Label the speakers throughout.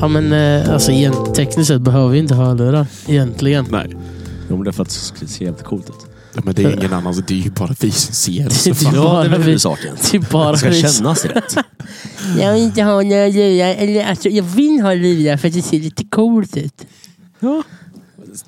Speaker 1: Ja, men eh, alltså, egent- tekniskt sett behöver vi inte hörlurar. Egentligen.
Speaker 2: Nej.
Speaker 3: Jo, men det är för att det ser jävligt coolt ut.
Speaker 2: Ja, men det är ingen annan. Det är ju bara vi som ser.
Speaker 1: Det
Speaker 2: Så
Speaker 1: är typ
Speaker 2: fan.
Speaker 1: bara
Speaker 3: det är väl
Speaker 1: vi-
Speaker 3: huvudsaken.
Speaker 1: Det är bara
Speaker 3: Det ska
Speaker 1: vi-
Speaker 3: kännas rätt.
Speaker 1: Jag vill inte ha några lurar. Eller alltså, jag vill ha lurar för att det ser lite coolt ut.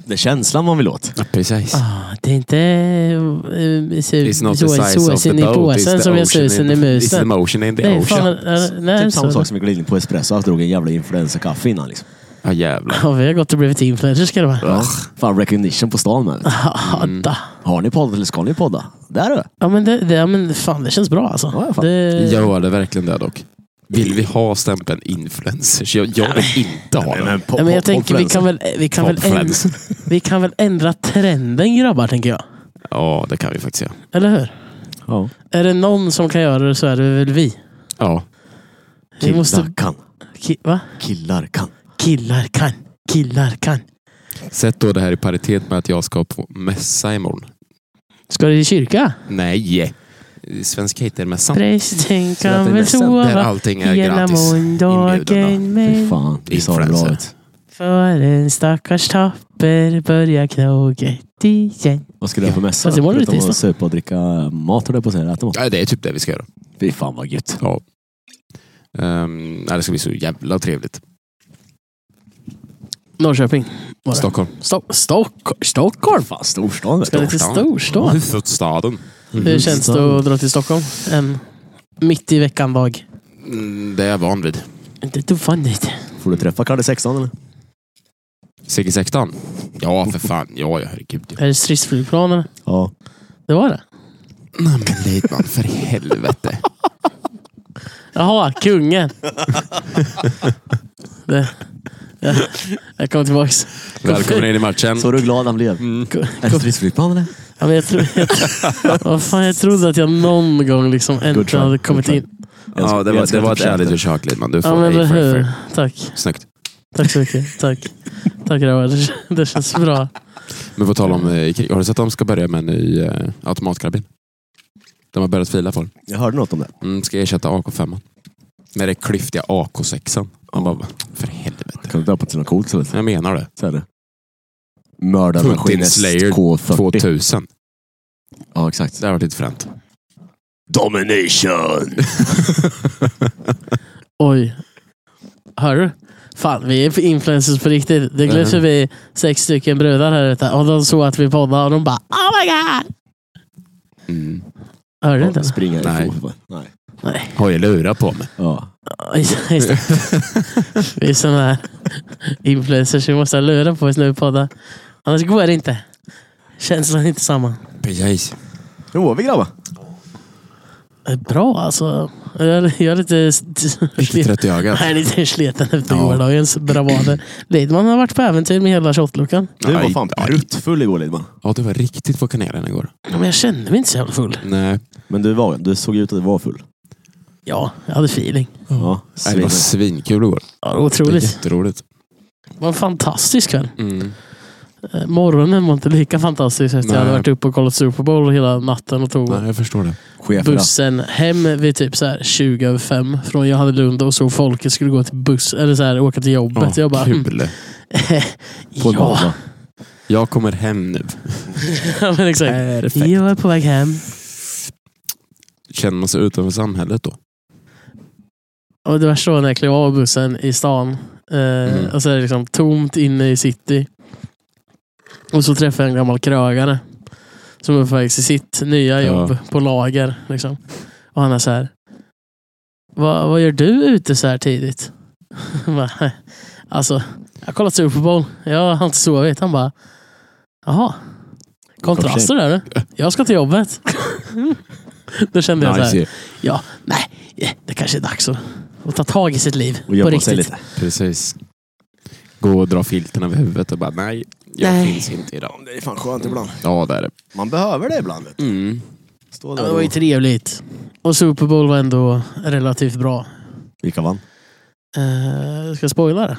Speaker 3: Det är känslan man vill åt.
Speaker 2: Ja, precis.
Speaker 1: Ah, det är inte uh,
Speaker 2: It's not the size of the
Speaker 1: såsen i
Speaker 2: boat. It's
Speaker 1: påsen
Speaker 2: the
Speaker 1: som är
Speaker 2: ocean in
Speaker 1: såsen i
Speaker 2: the- It's the
Speaker 1: musen.
Speaker 2: motion in the
Speaker 1: Nej,
Speaker 2: ocean.
Speaker 1: fan, eh, nej,
Speaker 3: typ samma
Speaker 1: så-
Speaker 3: sak som vi gled in på espresso. Jag drog en jävla influencerkaffe innan. Liksom.
Speaker 2: Ja, jävlar.
Speaker 1: Ja, vi har gått och blivit influencers ska det vara.
Speaker 3: Ja. Fan recognition på stan med.
Speaker 1: Ja,
Speaker 2: Mm.
Speaker 1: da.
Speaker 3: Har ni poddat eller ska ni podda? Där du!
Speaker 1: Ja, men det, det, ja, men fan, det känns bra alltså.
Speaker 3: Ja, fan.
Speaker 1: Det,
Speaker 2: Gör det verkligen det dock? Vill vi ha stämpeln influencers? Jag, jag vill inte ha den.
Speaker 1: Nej, men jag tänker vi kan väl, vi kan väl, ändra,
Speaker 2: Influencer.
Speaker 1: vi kan väl ändra trenden grabbar, tänker jag.
Speaker 2: Ja, det kan vi faktiskt göra.
Speaker 1: Eller hur?
Speaker 3: Ja.
Speaker 1: Är det någon som kan göra det så är det väl vi.
Speaker 2: Ja.
Speaker 1: Vi
Speaker 3: Killar
Speaker 1: måste...
Speaker 3: kan.
Speaker 1: Ki, va?
Speaker 3: Killar kan.
Speaker 1: Killar kan. Killar kan.
Speaker 2: Sätt då det här i paritet med att jag ska på mässa imorgon.
Speaker 1: Ska du i kyrka?
Speaker 2: Nej! Svensk Hatermässan.
Speaker 1: Prästen
Speaker 2: att det
Speaker 1: kan
Speaker 2: är
Speaker 1: väl
Speaker 2: nästan där
Speaker 1: sova
Speaker 2: allting är
Speaker 1: hela
Speaker 2: gratis.
Speaker 1: måndagen
Speaker 2: Inbjudna.
Speaker 3: Fy
Speaker 1: men
Speaker 3: fan. Vi sa det bra.
Speaker 2: Influencer.
Speaker 1: för en stackars tapper börjar knoget igen.
Speaker 3: Vad ska du göra på mässan?
Speaker 1: Fast imorgon är det
Speaker 3: Förutom att
Speaker 1: tisdag.
Speaker 3: Supa och dricka mat höll jag på att säga. Äta mat.
Speaker 2: Ja, det är typ det vi ska göra.
Speaker 3: Fy fan vad gött.
Speaker 2: Ja. Ehm, nej, det ska bli så jävla trevligt.
Speaker 1: Norrköping. Var det?
Speaker 2: Stockholm.
Speaker 1: Sto- Stock- Stockholm?
Speaker 3: Fan storstan vet
Speaker 1: Ska
Speaker 3: du. Mm.
Speaker 1: det till storstan?
Speaker 2: Huvudstaden.
Speaker 1: Hur känns det att dra till Stockholm? En mitt i veckan-dag.
Speaker 2: Mm, det är jag van vid.
Speaker 1: Inte ett ovanligt.
Speaker 3: Får du träffa Kalle 16 eller?
Speaker 2: Sigge Sextan? Ja, för fan. Ja, ja, herregud.
Speaker 1: Är det stridsflygplan eller?
Speaker 3: Ja.
Speaker 1: Det var det.
Speaker 2: Nej, men Lidman, för helvete.
Speaker 1: Jaha, kungen. det. Ja, jag kommer tillbaks.
Speaker 2: Välkommen in i matchen.
Speaker 3: Så du glad han blev? Är det stridsflygplan eller?
Speaker 1: Ja, men jag, tro, jag, vad fan, jag trodde att jag någon gång liksom äntligen
Speaker 3: try,
Speaker 1: hade
Speaker 3: good
Speaker 1: kommit
Speaker 3: try.
Speaker 1: in.
Speaker 2: Ja, det var, det var ett ärligt försök Lidman. Du får
Speaker 1: Ja, men
Speaker 2: A
Speaker 1: eller
Speaker 2: for
Speaker 1: hur.
Speaker 2: effort.
Speaker 1: Tack.
Speaker 2: Snyggt.
Speaker 1: Tack så mycket. Tack. Tack grabbar. Det, kän- det känns bra.
Speaker 2: Men på tal om eh, krig. Har du sett att de ska börja med en ny eh, automatkarabin? De har börjat fila på
Speaker 3: Jag hörde något om det.
Speaker 2: mm, Ska ersätta AK5. Med det klyftiga AK6. Man bara, för helvete.
Speaker 3: Kan du döpa till något coolt så vet du.
Speaker 2: Jag menar det.
Speaker 3: Så är det.
Speaker 2: Putin
Speaker 3: Mördarmaskinist
Speaker 2: Slayer
Speaker 3: K40.
Speaker 2: 2000.
Speaker 3: Ja exakt.
Speaker 2: Det har varit lite fränt.
Speaker 3: Domination!
Speaker 1: Oj. Hör du? Fan, vi är influencers på riktigt. Det glömde
Speaker 2: Mhm.
Speaker 1: vi sex stycken brudar här ute och de såg att vi poddade och de bara Oh my god!
Speaker 2: Mm.
Speaker 1: Hörde du inte?
Speaker 3: Springa
Speaker 2: Nej.
Speaker 3: ifrån. Nej.
Speaker 1: Nej.
Speaker 2: Har ju lurat på mig.
Speaker 3: Ja.
Speaker 1: Ja, Just just det. Vi är sådana här influencers. Vi måste lura på oss när vi poddar. Annars går det inte. Känslan är inte samma.
Speaker 2: Precis.
Speaker 3: Hur mår vi grabbar?
Speaker 1: Det är Bra alltså. Jag är, jag är lite...
Speaker 2: Lite trött i ögat.
Speaker 1: Jag är lite sliten efter
Speaker 2: Ja.
Speaker 1: gårdagens bravader. Lidman har varit på äventyr med hela shotluckan.
Speaker 3: Du var
Speaker 2: Aj,
Speaker 3: fan
Speaker 2: aj.
Speaker 3: pruttfull igår Lidman.
Speaker 2: Ja, du var riktigt på kanelen igår.
Speaker 1: Men jag kände mig inte så jävla full.
Speaker 2: Nej,
Speaker 3: Men du, var, du såg ut att du var full.
Speaker 1: Ja, jag hade feeling.
Speaker 3: Ja.
Speaker 2: Nej, det var
Speaker 3: Svimmel.
Speaker 2: svinkul igår.
Speaker 1: Ja, det var
Speaker 2: Det var
Speaker 1: otroligt.
Speaker 2: jätteroligt.
Speaker 1: Det var en fantastisk kväll.
Speaker 2: Mm.
Speaker 1: Eh, Morgonen var inte lika fantastisk efter jag hade
Speaker 2: Nej.
Speaker 1: varit uppe och kollat Super Bowl hela natten och tog
Speaker 2: Nej, jag förstår det.
Speaker 3: Cheferna.
Speaker 1: bussen hem vid typ så här 20 över fem från jag hade Lund och såg folket skulle gå till buss eller så här, åka till jobbet. jag bara, mm,
Speaker 2: kul.
Speaker 3: På
Speaker 1: ja,
Speaker 3: en bana.
Speaker 2: Jag kommer hem nu.
Speaker 1: Ja, men exakt.
Speaker 2: Perfekt.
Speaker 1: Jag är på väg hem.
Speaker 2: Känner man sig utanför samhället då?
Speaker 1: Och det värsta var när jag klev av bussen i stan. Eh,
Speaker 2: Mm.
Speaker 1: Och så är det liksom tomt inne i city. Och så träffade jag en gammal krögare. Som är på väg till sitt nya
Speaker 2: Ja.
Speaker 1: jobb på lager. Liksom. Och han är så här. "Va- Vad gör du ute så här tidigt? Jag bara, "Nej, alltså, jag har kollat Super Bowl. Jag har inte sovit. Han bara. Jaha. Kontraster där du. Jag ska till jobbet. Då kände jag så här.
Speaker 2: ju.
Speaker 1: Ja, nej, det kanske är dags att, att ta tag i sitt liv.
Speaker 3: Och
Speaker 1: på
Speaker 3: jobba sig
Speaker 1: riktigt.
Speaker 3: lite.
Speaker 2: Precis. Gå och dra filten över huvudet och bara nej, jag
Speaker 1: Nej.
Speaker 2: finns inte idag.
Speaker 3: Det är fan skönt ibland.
Speaker 2: Ja, det är det.
Speaker 3: Man behöver det ibland. vet du.
Speaker 2: Mm.
Speaker 3: Stå
Speaker 1: Ja,
Speaker 3: där
Speaker 1: det var ju
Speaker 3: och...
Speaker 1: trevligt. Och Super Bowl var ändå relativt bra.
Speaker 3: Vilka vann?
Speaker 1: Eh, ska jag spoila det?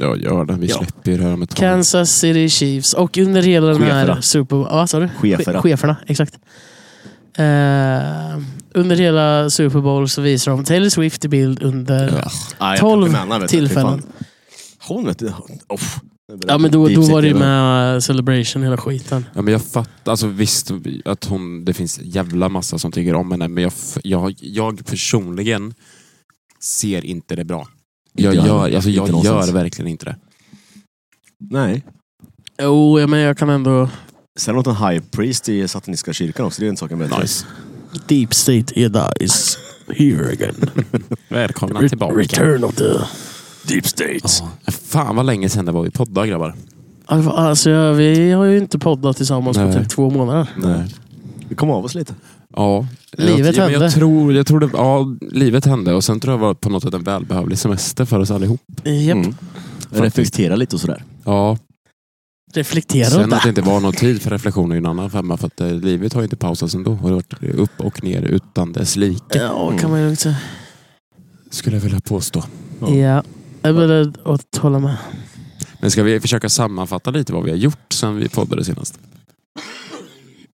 Speaker 2: Ja, gör det. Vi
Speaker 1: Ja.
Speaker 2: släpper ju det här om ett tag.
Speaker 1: Kansas City Chiefs. Och under hela den här
Speaker 3: Cheferna.
Speaker 1: Super Bowl... Ja, Vad sa du?
Speaker 3: Cheferna.
Speaker 1: Cheferna, exakt. Eh, under hela Super Bowl så visar de Taylor Swift i bild under... Ja,
Speaker 3: Nej, jag
Speaker 1: 12
Speaker 3: kan inte nämna, vet du. Fy
Speaker 1: tillfällen.
Speaker 3: fan. Hon vet du. Uff.
Speaker 1: men då,
Speaker 3: Deep
Speaker 1: då
Speaker 3: City,
Speaker 1: var det ju
Speaker 3: eller?
Speaker 1: med eh, Celebration, hela skiten.
Speaker 2: Ja, men jag fattar, alltså visst att hon, det finns jävla massa som tycker om henne, men jag, f- jag, jag personligen ser inte det bra. Jag
Speaker 3: Inte jag
Speaker 2: gör,
Speaker 3: heller.
Speaker 2: alltså, jag
Speaker 3: Inte någonstans.
Speaker 2: gör verkligen inte det.
Speaker 3: Nej.
Speaker 1: Jo, ja, men jag kan ändå...
Speaker 3: Sen åt en high priest i sataniska kyrkan också. Det är en sak jag vet.
Speaker 2: Nice.
Speaker 1: Deep State Jedi is here again.
Speaker 2: Välkomna
Speaker 1: Re-
Speaker 2: tillbaka.
Speaker 1: Return of the Deep State.
Speaker 2: Ja, Fan vad länge sedan det var vi poddade grabbar.
Speaker 1: Alltså, jag- vi har ju inte poddat tillsammans på
Speaker 2: Nej.
Speaker 1: typ två månader.
Speaker 2: Nej.
Speaker 3: Vi kom av oss lite.
Speaker 2: Ja.
Speaker 1: Livet
Speaker 2: jag, men
Speaker 1: hände.
Speaker 2: Jag tror, jag tror det, ja, livet hände och sen tror jag det var på något sätt en välbehövlig semester för oss allihop.
Speaker 1: Japp.
Speaker 2: Mm.
Speaker 3: Reflektera lite och sådär.
Speaker 2: Ja,
Speaker 1: Reflektera
Speaker 2: sen att det
Speaker 1: inte.
Speaker 2: inte var någon tid för reflektion är ju en annan femma för att eh, livet har ju inte pausats ändå. Det har varit upp och ner utan dess like.
Speaker 1: Ja,
Speaker 2: Mm.
Speaker 1: kan man ju lugnt säga.
Speaker 2: Skulle jag vilja påstå.
Speaker 3: Ja.
Speaker 1: Ja. Jag är beredd att hålla med.
Speaker 2: Men ska vi försöka sammanfatta lite vad vi har gjort sen vi poddade senast?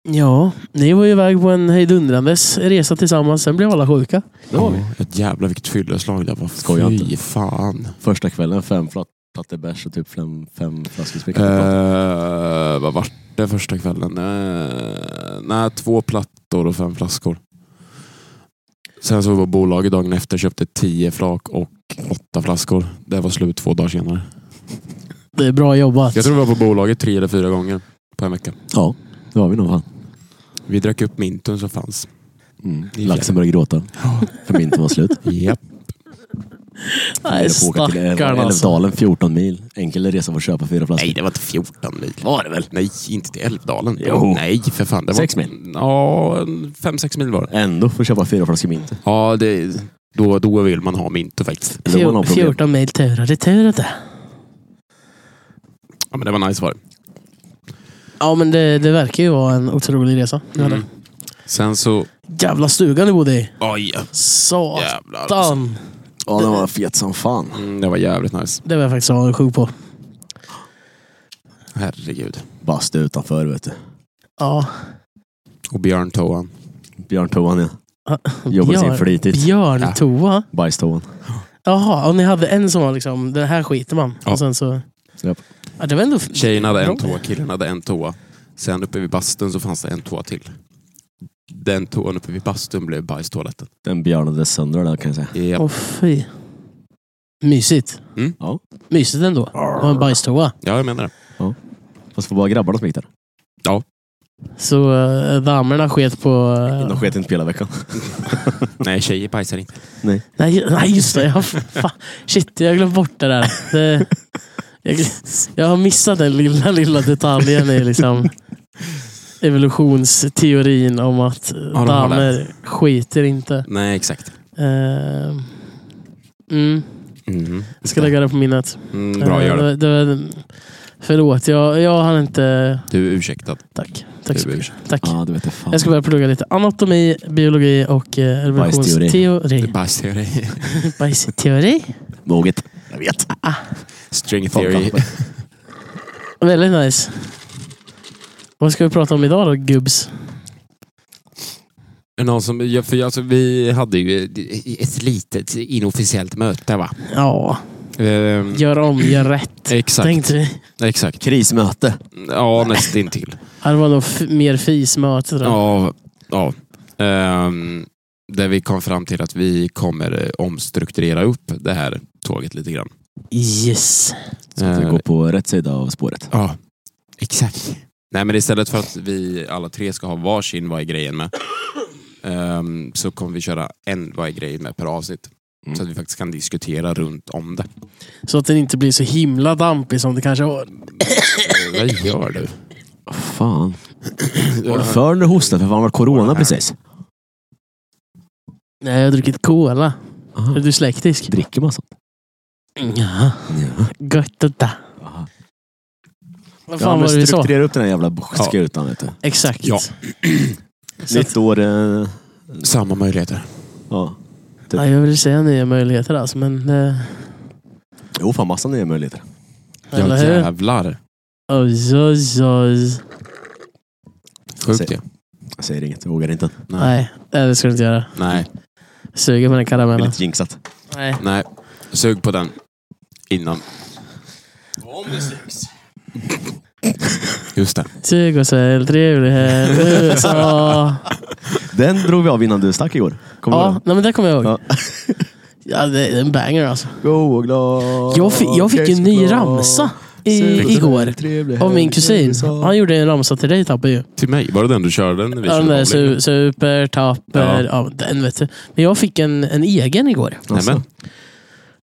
Speaker 1: Ja, ni var ju iväg på en hejdundrandes resa tillsammans. Sen blev alla sjuka.
Speaker 3: Det var vi.
Speaker 2: Ett jävla vilket fylleslag det var.
Speaker 3: Skojar
Speaker 2: Fy
Speaker 3: inte.
Speaker 2: fan.
Speaker 3: Första kvällen fem flat, plattor bärs och typ fem, fem flaskor sprit.
Speaker 2: Eh, vad var det första kvällen? Eh, nej, två plattor och fem flaskor. Sen så var bolaget dagen efter köpte tio flak och åtta flaskor. Det var slut två dagar senare.
Speaker 1: Det är bra jobbat.
Speaker 2: Jag tror vi var på bolaget tre eller fyra gånger på en vecka.
Speaker 3: Ja, det var vi nog fan.
Speaker 2: Vi drack upp minten som fanns.
Speaker 3: Mm.
Speaker 2: Det är
Speaker 3: Laxen började gråta. För min var slut.
Speaker 2: Japp.
Speaker 1: Nej,
Speaker 3: Jag får åka till
Speaker 1: stackarn alltså.
Speaker 3: Älvdalen 14 mil. Enkel resa för att köpa fyra flaskor.
Speaker 2: Nej, det var inte 14 mil. Var det väl? Nej, inte till Älvdalen.
Speaker 3: Jo.
Speaker 2: Nej, för fan. Det var...
Speaker 3: Sex mil.
Speaker 2: Ja, en fem, sex mil var det.
Speaker 3: Ändå får köpa fyra flaskor mint.
Speaker 2: Ja, det, då, då vill man ha mintu faktiskt.
Speaker 3: Det var något
Speaker 1: Fjor-
Speaker 3: problem.
Speaker 1: 14 mil tur och retur. det.
Speaker 2: Ja, men det var nice var det.
Speaker 1: Ja, men det, det verkar ju vara en otrolig resa. ni
Speaker 2: Mm.
Speaker 1: hade.
Speaker 2: Sen så...
Speaker 1: Jävla stugan du bodde i.
Speaker 2: Oj,
Speaker 1: Satan.
Speaker 2: jävlar. alltså.
Speaker 3: Ja, den var fet som fan.
Speaker 2: Mm, det var jävligt nice.
Speaker 1: Det var jag faktiskt avundsjuk på.
Speaker 2: Herregud.
Speaker 3: Bastu utanför vet du.
Speaker 1: Ja.
Speaker 2: Och björntoan.
Speaker 3: Björntoan ja. Jobbade sin
Speaker 1: Björn,
Speaker 2: Typ.
Speaker 3: flitigt.
Speaker 1: björntoa.
Speaker 3: Bajstoan.
Speaker 1: Jaha, och ni hade en som var liksom, den här skiter man.
Speaker 2: Ja.
Speaker 1: Och sen så...
Speaker 3: Japp.
Speaker 1: Ja, det var ändå...
Speaker 2: Tjejen hade en
Speaker 1: Bra.
Speaker 2: toa, killen hade en toa. Sen uppe vid bastun så fanns det en toa till. Den toan uppe vid bastun blev bajstoaletten.
Speaker 3: Den björnade sönder där kan jag säga.
Speaker 2: Japp.
Speaker 1: Åh fy. Mysigt.
Speaker 2: Mm.
Speaker 3: Ja.
Speaker 1: Mysigt ändå. Och en bajstoa.
Speaker 2: Ja, jag menar det.
Speaker 3: Fast det var bara grabbarna som gick där.
Speaker 1: Så äh, damerna sket på... eh,
Speaker 3: De sket inte på hela veckan.
Speaker 2: Nej, tjejer bajsar inte.
Speaker 1: Nej, ju- nej just det. Jag, fan, shit, jag har glömt bort det där. Det, jag, jag har missat den lilla, lilla detaljen i liksom evolutionsteorin om att
Speaker 2: har
Speaker 1: damer skiter inte.
Speaker 2: Nej, exakt.
Speaker 1: Eh, mm,
Speaker 2: Mm.
Speaker 1: jag ska lägga det på minnet.
Speaker 2: Mm, bra, gör det.
Speaker 1: Eh, det, det, Förlåt, jag, jag hann inte...
Speaker 2: Du är ursäktad.
Speaker 1: Tack. Tack så
Speaker 2: Du är
Speaker 1: mycket. Tack.
Speaker 3: Ja, du vet det fan.
Speaker 1: Jag ska börja plugga lite anatomi, biologi och eh,
Speaker 3: Bajsteori.
Speaker 1: evolutionsteori.
Speaker 2: Bajsteori.
Speaker 1: Bajsteori.
Speaker 3: Våget. Jag vet.
Speaker 2: String
Speaker 3: Fan,
Speaker 2: theory.
Speaker 3: kanske.
Speaker 1: Väldigt nice. Vad ska vi prata om idag då, gubbs?
Speaker 2: Är Någon som, ja, för alltså, vi hade ju ett litet inofficiellt möte va?
Speaker 1: Ja,
Speaker 2: Ehm,
Speaker 1: gör om, gör rätt.
Speaker 2: Exakt.
Speaker 1: Tänkte vi.
Speaker 2: Exakt.
Speaker 3: Krismöte.
Speaker 2: Ja, nästintill.
Speaker 1: Ja, Det var nog f- mer fismöte. då.
Speaker 2: ja, ja. Ehm, där vi kom fram till att vi kommer eh, omstrukturera upp det här tåget lite grann.
Speaker 1: Yes.
Speaker 3: Så att vi går på rätt sida av spåret.
Speaker 2: Ja, exakt. Nej, men istället för att vi alla tre ska ha varsin Vad är grejen med? ehm, så kommer vi köra en Vad är grejen med per avsnitt.
Speaker 3: Mm.
Speaker 2: Så att vi faktiskt kan diskutera runt om det.
Speaker 1: Så att den inte blir så himla dampig som det kanske var.
Speaker 2: Eh, Vad gör du?
Speaker 3: Fan. Håll för när du hostar för fan var det corona precis.
Speaker 1: Nej, jag har druckit cola. Är
Speaker 3: Aha.
Speaker 1: du slektisk?
Speaker 3: Dricker man sånt?
Speaker 1: Ja,
Speaker 3: Ja.
Speaker 1: gött detta.
Speaker 3: Aha.
Speaker 1: Vad
Speaker 3: Ja,
Speaker 1: fan
Speaker 3: men
Speaker 1: var det du sa?
Speaker 3: strukturera upp den här jävla skutan. Vet du.
Speaker 1: Exakt.
Speaker 2: Ja.
Speaker 1: Så att,
Speaker 3: Nytt år. Eh,
Speaker 2: Samma möjligheter.
Speaker 3: ja.
Speaker 1: ja, jag vill säga nya möjligheter alltså, men... Eh,
Speaker 3: Jo, fan massa nya möjligheter.
Speaker 2: Ja,
Speaker 1: eller hur?
Speaker 2: jävlar.
Speaker 1: Oj, oj, oj.
Speaker 2: Sjukt det.
Speaker 3: Jag säger inget, jag vågar inte.
Speaker 1: Nej, det ska du inte göra.
Speaker 2: Nej.
Speaker 1: Suger på den
Speaker 3: Det är
Speaker 1: karamellen.
Speaker 3: lite jinxat.
Speaker 1: Nej.
Speaker 2: Nej. Sug på den. Innan.
Speaker 3: Om det sugs.
Speaker 2: Just det.
Speaker 1: Sug och sälj, trevlig helg, USA.
Speaker 3: Den drog vi av innan du stack igår. Kommer du
Speaker 1: Ja,
Speaker 3: ihåg?
Speaker 1: nej, men det kommer jag ihåg.
Speaker 3: Ja.
Speaker 1: Ja, det är en banger alltså.
Speaker 3: Go och glad.
Speaker 1: Jag fick, jag fick en ny
Speaker 3: glad.
Speaker 1: ramsa i,
Speaker 3: Sug och
Speaker 1: igår.
Speaker 3: sälj, trevlig
Speaker 1: Av min
Speaker 3: helg,
Speaker 1: kusin.
Speaker 3: USA.
Speaker 1: Han gjorde en ramsa till dig Tabbe ju.
Speaker 2: Till mig. Var det den du körde? När vi
Speaker 1: Ja,
Speaker 2: körde
Speaker 1: den där
Speaker 2: bowling?
Speaker 1: su- super, tapper, ja.
Speaker 2: Ja.
Speaker 1: den vet du. Men jag fick en, en egen igår.
Speaker 2: Nämen.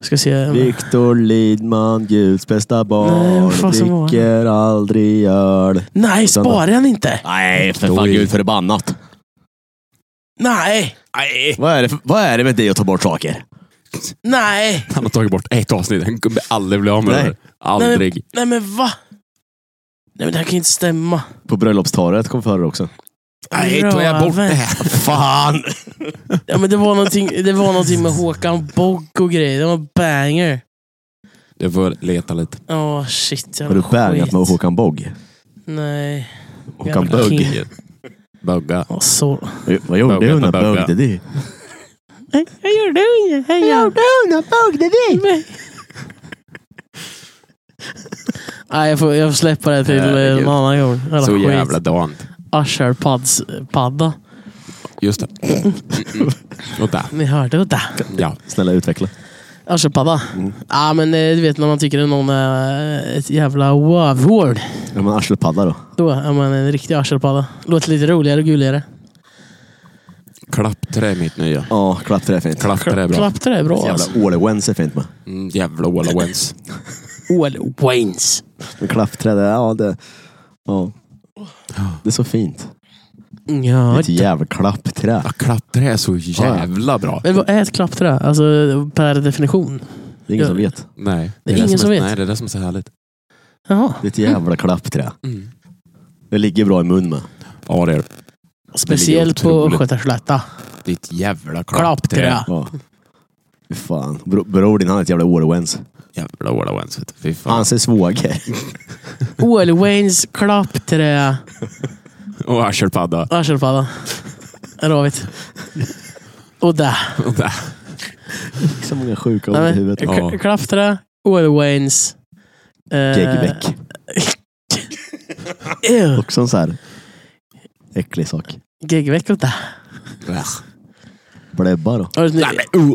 Speaker 1: Ska se.
Speaker 3: Viktor Lidman, Guds bästa
Speaker 1: Nej, vad fan
Speaker 3: barn.
Speaker 1: som var det?
Speaker 3: Dricker aldrig öl.
Speaker 1: Nej, sparar han inte?
Speaker 3: Nej, för
Speaker 2: fan, Gud
Speaker 3: förbannat.
Speaker 1: Nej,
Speaker 2: Nej!
Speaker 3: Vad är, det för, vad är det med dig att ta bort saker?
Speaker 1: nej,
Speaker 2: Han har tagit bort ett avsnitt. Han kommer aldrig bli av med det
Speaker 3: Nej.
Speaker 2: här. Aldrig.
Speaker 1: Nej, men, nej men va? Nej men det här kan ju inte stämma.
Speaker 3: På bröllopstalet kom före också.
Speaker 2: Nej, tog jag bort det
Speaker 1: Röven.
Speaker 2: här.
Speaker 3: Fan!
Speaker 1: Ja, men det, var någonting, det var någonting med Håkan Bogg och grejer. Det var banger.
Speaker 2: Jag får leta lite.
Speaker 1: Åh shit.
Speaker 3: Har du bärgat med Håkan Bogg?
Speaker 1: Nej.
Speaker 3: Håkan
Speaker 1: Jävla
Speaker 3: Bögg.
Speaker 1: king.
Speaker 2: Bugga.
Speaker 1: Åh, så.
Speaker 3: Vad gjorde
Speaker 2: Bögga,
Speaker 3: du när
Speaker 2: bögga.
Speaker 3: bögde du?
Speaker 1: Jag gjorde unge. Hej jag.
Speaker 3: när bögde du?
Speaker 1: Nej, jag får, jag får släppa det till eh,
Speaker 2: Herregud.
Speaker 1: en annan gång. Jävla
Speaker 2: Så
Speaker 1: skit.
Speaker 2: jävla dant.
Speaker 1: Usher-padda.
Speaker 2: Just det. Mm. Och där.
Speaker 1: Ni hörde det där.
Speaker 2: Ja.
Speaker 3: Snälla utveckla.
Speaker 1: Aschelpadda.
Speaker 3: Mm.
Speaker 1: Ja, men eh, du vet när man tycker att någon är eh, ett jävla wow-word.
Speaker 3: Ja, men arselpadda då?
Speaker 1: Då är man en riktig aschelpadda. Låter lite roligare och gulligare.
Speaker 2: Klappträ är mitt nya.
Speaker 3: Ja, klappträ är fint.
Speaker 2: Klappträ är bra.
Speaker 1: Klappte det bra alltså.
Speaker 3: Jävla ålewens är fint med.
Speaker 2: Mm, jävla Ola Wens.
Speaker 1: All Waynes.
Speaker 3: Men klappträ, det, ja det... Ja. Det är så fint.
Speaker 1: Ja.
Speaker 3: Ett jävla klappträ.
Speaker 2: Ja, klappträ är så jävla bra.
Speaker 1: Men vad är ett klappträ? Alltså per definition.
Speaker 3: Det är ingen som vet.
Speaker 2: Nej.
Speaker 1: Det är ingen som
Speaker 2: är,
Speaker 1: vet.
Speaker 2: Nej, det är det som är så härligt.
Speaker 1: Jaha.
Speaker 3: Det är ett jävla klappträ.
Speaker 2: Mm.
Speaker 3: Det ligger bra i mun med.
Speaker 2: Ja, det är det.
Speaker 1: Speciellt på
Speaker 2: otroligt.
Speaker 1: Östgötaslätta.
Speaker 2: Ditt jävla
Speaker 1: Klappträ.
Speaker 2: klappträ.
Speaker 3: Ja. Fy Fan. Bro, bror din han är ett jävla ålewens.
Speaker 2: Jävla Ola Wens. vet du. Fy fan.
Speaker 3: Hans är svåger.
Speaker 1: All Waynes klappträ.
Speaker 2: Och arselpadda.
Speaker 1: Aschelpadda. Rovigt. Och där.
Speaker 2: Och där.
Speaker 3: Så många sjuka ord i
Speaker 1: Nej, men,
Speaker 3: huvudet.
Speaker 2: Ja.
Speaker 1: k- Klappträ, All Waynes. eh,
Speaker 3: Geggebäck.
Speaker 1: ew,
Speaker 3: Också en så här äcklig sak.
Speaker 1: Geggebäck och där.
Speaker 2: Ja.
Speaker 3: Blebba då.
Speaker 1: Jag har ett nytt,
Speaker 3: uh.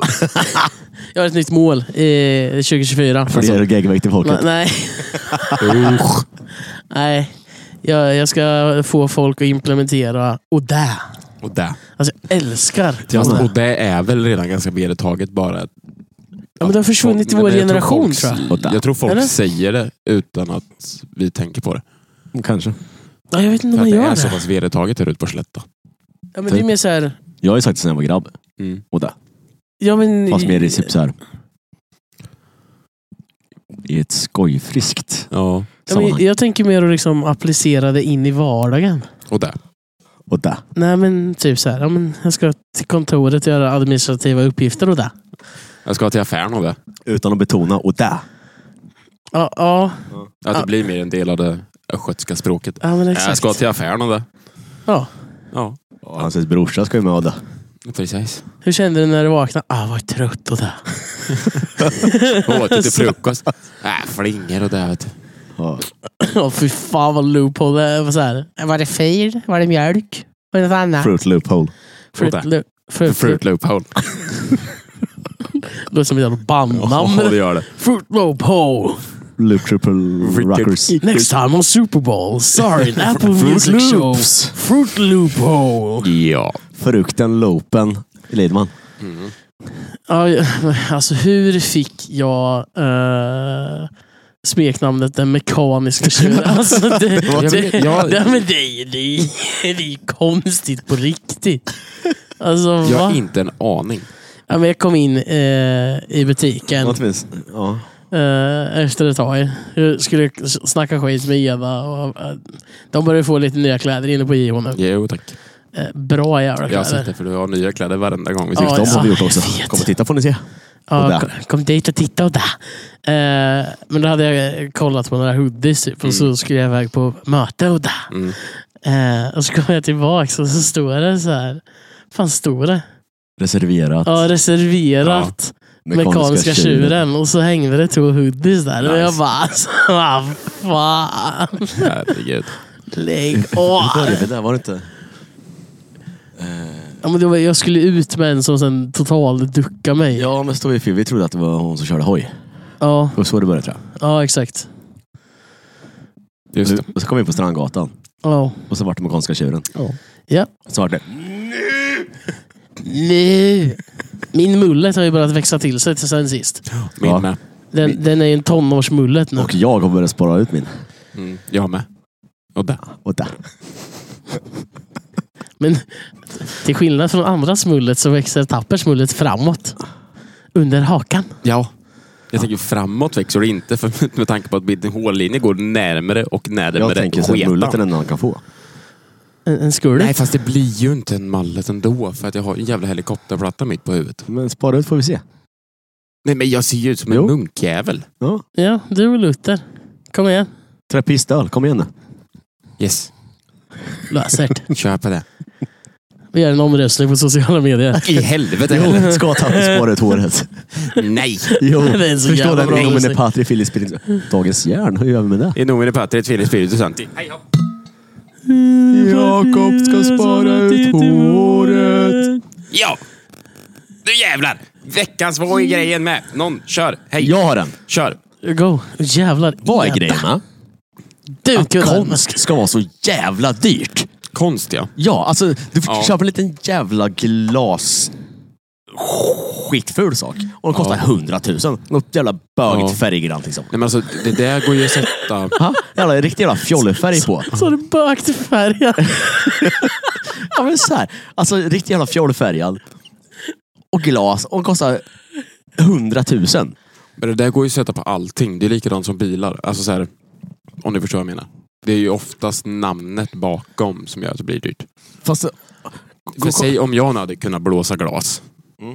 Speaker 1: jag har ett nytt mål i 2024.
Speaker 3: För det är geggväg till folket.
Speaker 1: Nej, nej.
Speaker 2: Usch.
Speaker 1: nej. Jag, jag ska få folk att implementera och där.
Speaker 2: Och där.
Speaker 1: Alltså jag älskar
Speaker 2: Fast,
Speaker 1: Odä.
Speaker 3: Alltså,
Speaker 2: och det är väl redan ganska vedertaget bara.
Speaker 1: Ja, men det har försvunnit i
Speaker 2: Nej,
Speaker 1: vår
Speaker 2: men jag tror
Speaker 1: generation
Speaker 2: folk-
Speaker 1: tror jag.
Speaker 2: Jag tror folk
Speaker 1: Eller?
Speaker 2: säger det utan att vi tänker på det.
Speaker 3: Kanske.
Speaker 1: Ja, jag vet inte om
Speaker 2: För
Speaker 1: man
Speaker 2: att det
Speaker 1: gör
Speaker 2: är så
Speaker 1: det.
Speaker 2: pass vedertaget här ute på Slätta.
Speaker 1: Ja, men det är
Speaker 3: typ
Speaker 1: mer så här,
Speaker 3: Jag har ju sagt det sen jag var grabb. Och det.
Speaker 1: ja, men,
Speaker 3: Fast mer i typ så här. I ett skojfriskt
Speaker 2: Ja.
Speaker 1: ja, men,
Speaker 3: sammanhang.
Speaker 1: jag tänker mer att liksom applicera det in i vardagen.
Speaker 2: Och där.
Speaker 3: Och det.
Speaker 1: Nej men typ så här, ja, men jag ska till kontoret göra administrativa uppgifter och det.
Speaker 2: Jag ska till affären och det.
Speaker 3: Utan att betona och det.
Speaker 1: Ja, ja,
Speaker 2: Att
Speaker 1: Ah.
Speaker 2: det blir mer en del av det östgötska språket.
Speaker 1: ja men
Speaker 2: Jag
Speaker 1: exakt.
Speaker 2: ska till affären och det.
Speaker 1: Ja.
Speaker 2: Ja,
Speaker 3: Hans brorsa ska ju med och det.
Speaker 2: precis.
Speaker 1: Hur kände du när du vaknade? Ah, var trött och det.
Speaker 2: Och åt lite frukost. Äh, flingor och det. Vet du.
Speaker 3: Ja.
Speaker 1: Ja fy fan vad loophole det var. Så här. Var det fil? Var det mjölk? Var det något annat?
Speaker 3: Fruit loophole.
Speaker 1: Fruit.
Speaker 2: Fruit.
Speaker 1: Fruit. Fruit. Fruit.
Speaker 2: Fruit loophole.
Speaker 1: Låter som ett jävla bandnamn.
Speaker 2: Ja, det gör det.
Speaker 1: Fruit Loop Hole.
Speaker 3: Loop triple
Speaker 2: Fruit-
Speaker 3: rockers.
Speaker 1: Next time on Super Bowl. Sorry, an Apple Music
Speaker 3: Fruit
Speaker 1: Show.
Speaker 3: Loops.
Speaker 1: Fruit Loop Hole.
Speaker 2: Ja.
Speaker 3: Frukten, loopen, Lidman.
Speaker 1: Ja, ja, alltså hur fick jag eh, smeknamnet den mekaniska tjuren? Alltså, det,
Speaker 2: Jag
Speaker 1: det,
Speaker 2: vet, jag-
Speaker 1: det, men det, är- det, är- det är konstigt på riktigt. Alltså,
Speaker 2: Jag
Speaker 1: va?
Speaker 2: har inte en aning.
Speaker 1: Ja, men jag kom in eh, i butiken
Speaker 3: Någonstans. Ja.
Speaker 1: eh, efter ett tag. Jag skulle s- snacka skit med Eva. Och, eh, de börjar få lite nya kläder inne på JH nu.
Speaker 2: Jo tack.
Speaker 1: Eh, bra jävla
Speaker 2: Jag har sett
Speaker 1: kläder.
Speaker 2: det för du har nya kläder varenda gång vi
Speaker 1: Ja,
Speaker 2: ses.
Speaker 3: De har vi gjort
Speaker 1: jag
Speaker 3: också.
Speaker 1: vet.
Speaker 3: Kom och titta får ni se. och
Speaker 1: Ja,
Speaker 3: där.
Speaker 1: kom, kom dit och titta och där. Eh,
Speaker 3: Mm.
Speaker 1: men då hade jag eh, kollat på några hoodies typ, och så skulle jag iväg på möte och där.
Speaker 2: Mm.
Speaker 1: Eh, och så kom jag tillbaks och så stod det så här. Fan stod det?
Speaker 3: Reserverat.
Speaker 1: Ja, reserverat. mekaniska tjuren. Och så hängde det två hoodies där. Och jag
Speaker 3: Nice.
Speaker 1: bara, alltså, vad fan.
Speaker 2: Herregud.
Speaker 1: Lägg
Speaker 3: Lite
Speaker 1: av.
Speaker 3: övrigt där, var det inte?
Speaker 1: Ja, men det var, jag skulle ut med en som sen totalt duckade mig. Ja,
Speaker 3: Ja, men stod vi för, vi trodde att det var hon som körde hoj.
Speaker 1: ja,
Speaker 3: Och så det började tror jag.
Speaker 1: exakt.
Speaker 2: Just det.
Speaker 3: Och så kom vi in på Strandgatan.
Speaker 1: Ja.
Speaker 3: Och så vart det mekaniska tjuren.
Speaker 1: ja.
Speaker 3: Så vart det.
Speaker 1: Nu. Min mullet har ju börjat växa till sig till sen sist.
Speaker 2: Min
Speaker 3: Ja.
Speaker 2: med.
Speaker 1: Den, den är ju en tonårsmullet nu.
Speaker 3: Och jag har börjat spara ut min.
Speaker 2: Mm. Jag med. Och där.
Speaker 3: Och där.
Speaker 1: Men till skillnad från andra smullet så växer tappers mullet framåt. Under hakan.
Speaker 2: Ja. Jag tänker framåt växer det inte för, med tanke på att min hårlinje går närmare och närmare
Speaker 3: Jag tänker så här,
Speaker 2: sketan.
Speaker 3: mullet är den enda man kan få.
Speaker 1: En, en skurlet.
Speaker 2: Nej, fast det blir ju inte en mallet ändå för att jag har en jävla helikopterplatta mitt på huvudet.
Speaker 3: Men spara ut får vi se.
Speaker 2: Nej, men jag ser ju ut som en
Speaker 3: Jo.
Speaker 2: munkjävel.
Speaker 3: Ja.
Speaker 1: Ja, du och Luther. Kom igen.
Speaker 3: Trappistöl, kom igen nu.
Speaker 2: Yes,
Speaker 1: Löser det.
Speaker 2: kör på det.
Speaker 1: Vi gör en omröstning på sociala medier.
Speaker 2: I helvete heller.
Speaker 3: Jo, ska ta spara ut håret.
Speaker 2: Nej!
Speaker 3: Jo,
Speaker 1: Det är så
Speaker 3: förstår
Speaker 1: jävla
Speaker 3: den
Speaker 1: bra
Speaker 3: inom
Speaker 1: musik.
Speaker 3: Patrik Philip Spirit. Dagens järn, hur gör vi med det?
Speaker 2: I nomine patria et filii spiritus sancti.
Speaker 3: Jakob ska spara ut håret.
Speaker 2: Ja! Nu jävlar! Veckans Vad är grejen med? Någon, kör! Hej!
Speaker 3: Jag har den.
Speaker 2: Kör!
Speaker 1: Go. Jävlar.
Speaker 3: Vad är
Speaker 1: jävlar.
Speaker 3: grejen med?
Speaker 1: Du
Speaker 3: Att
Speaker 1: kunde.
Speaker 3: konst ska vara så jävla dyrt.
Speaker 2: Konst ja.
Speaker 3: Ja, alltså du får
Speaker 2: Ja.
Speaker 3: köpa en liten jävla glas skitful sak. Och den kostar
Speaker 2: Ja.
Speaker 3: hundratusen. Något jävla bögigt
Speaker 2: Ja.
Speaker 3: färggrant liksom.
Speaker 2: Nej men alltså, det där går ju att sätta...
Speaker 3: Ha? Jävla, riktig jävla fjollefärg på.
Speaker 1: Så har du bökt i färgen.
Speaker 3: Ja, men så här. Alltså riktigt jävla fjollfärgad. Och glas. Och kostar hundratusen.
Speaker 2: Men det där går ju att sätta på allting. Det är likadant som bilar. Alltså så här, om ni förstår vad jag menar. Det är ju oftast namnet bakom som gör att det blir dyrt.
Speaker 3: Fast
Speaker 2: För säg om jag nu hade kunnat blåsa glas.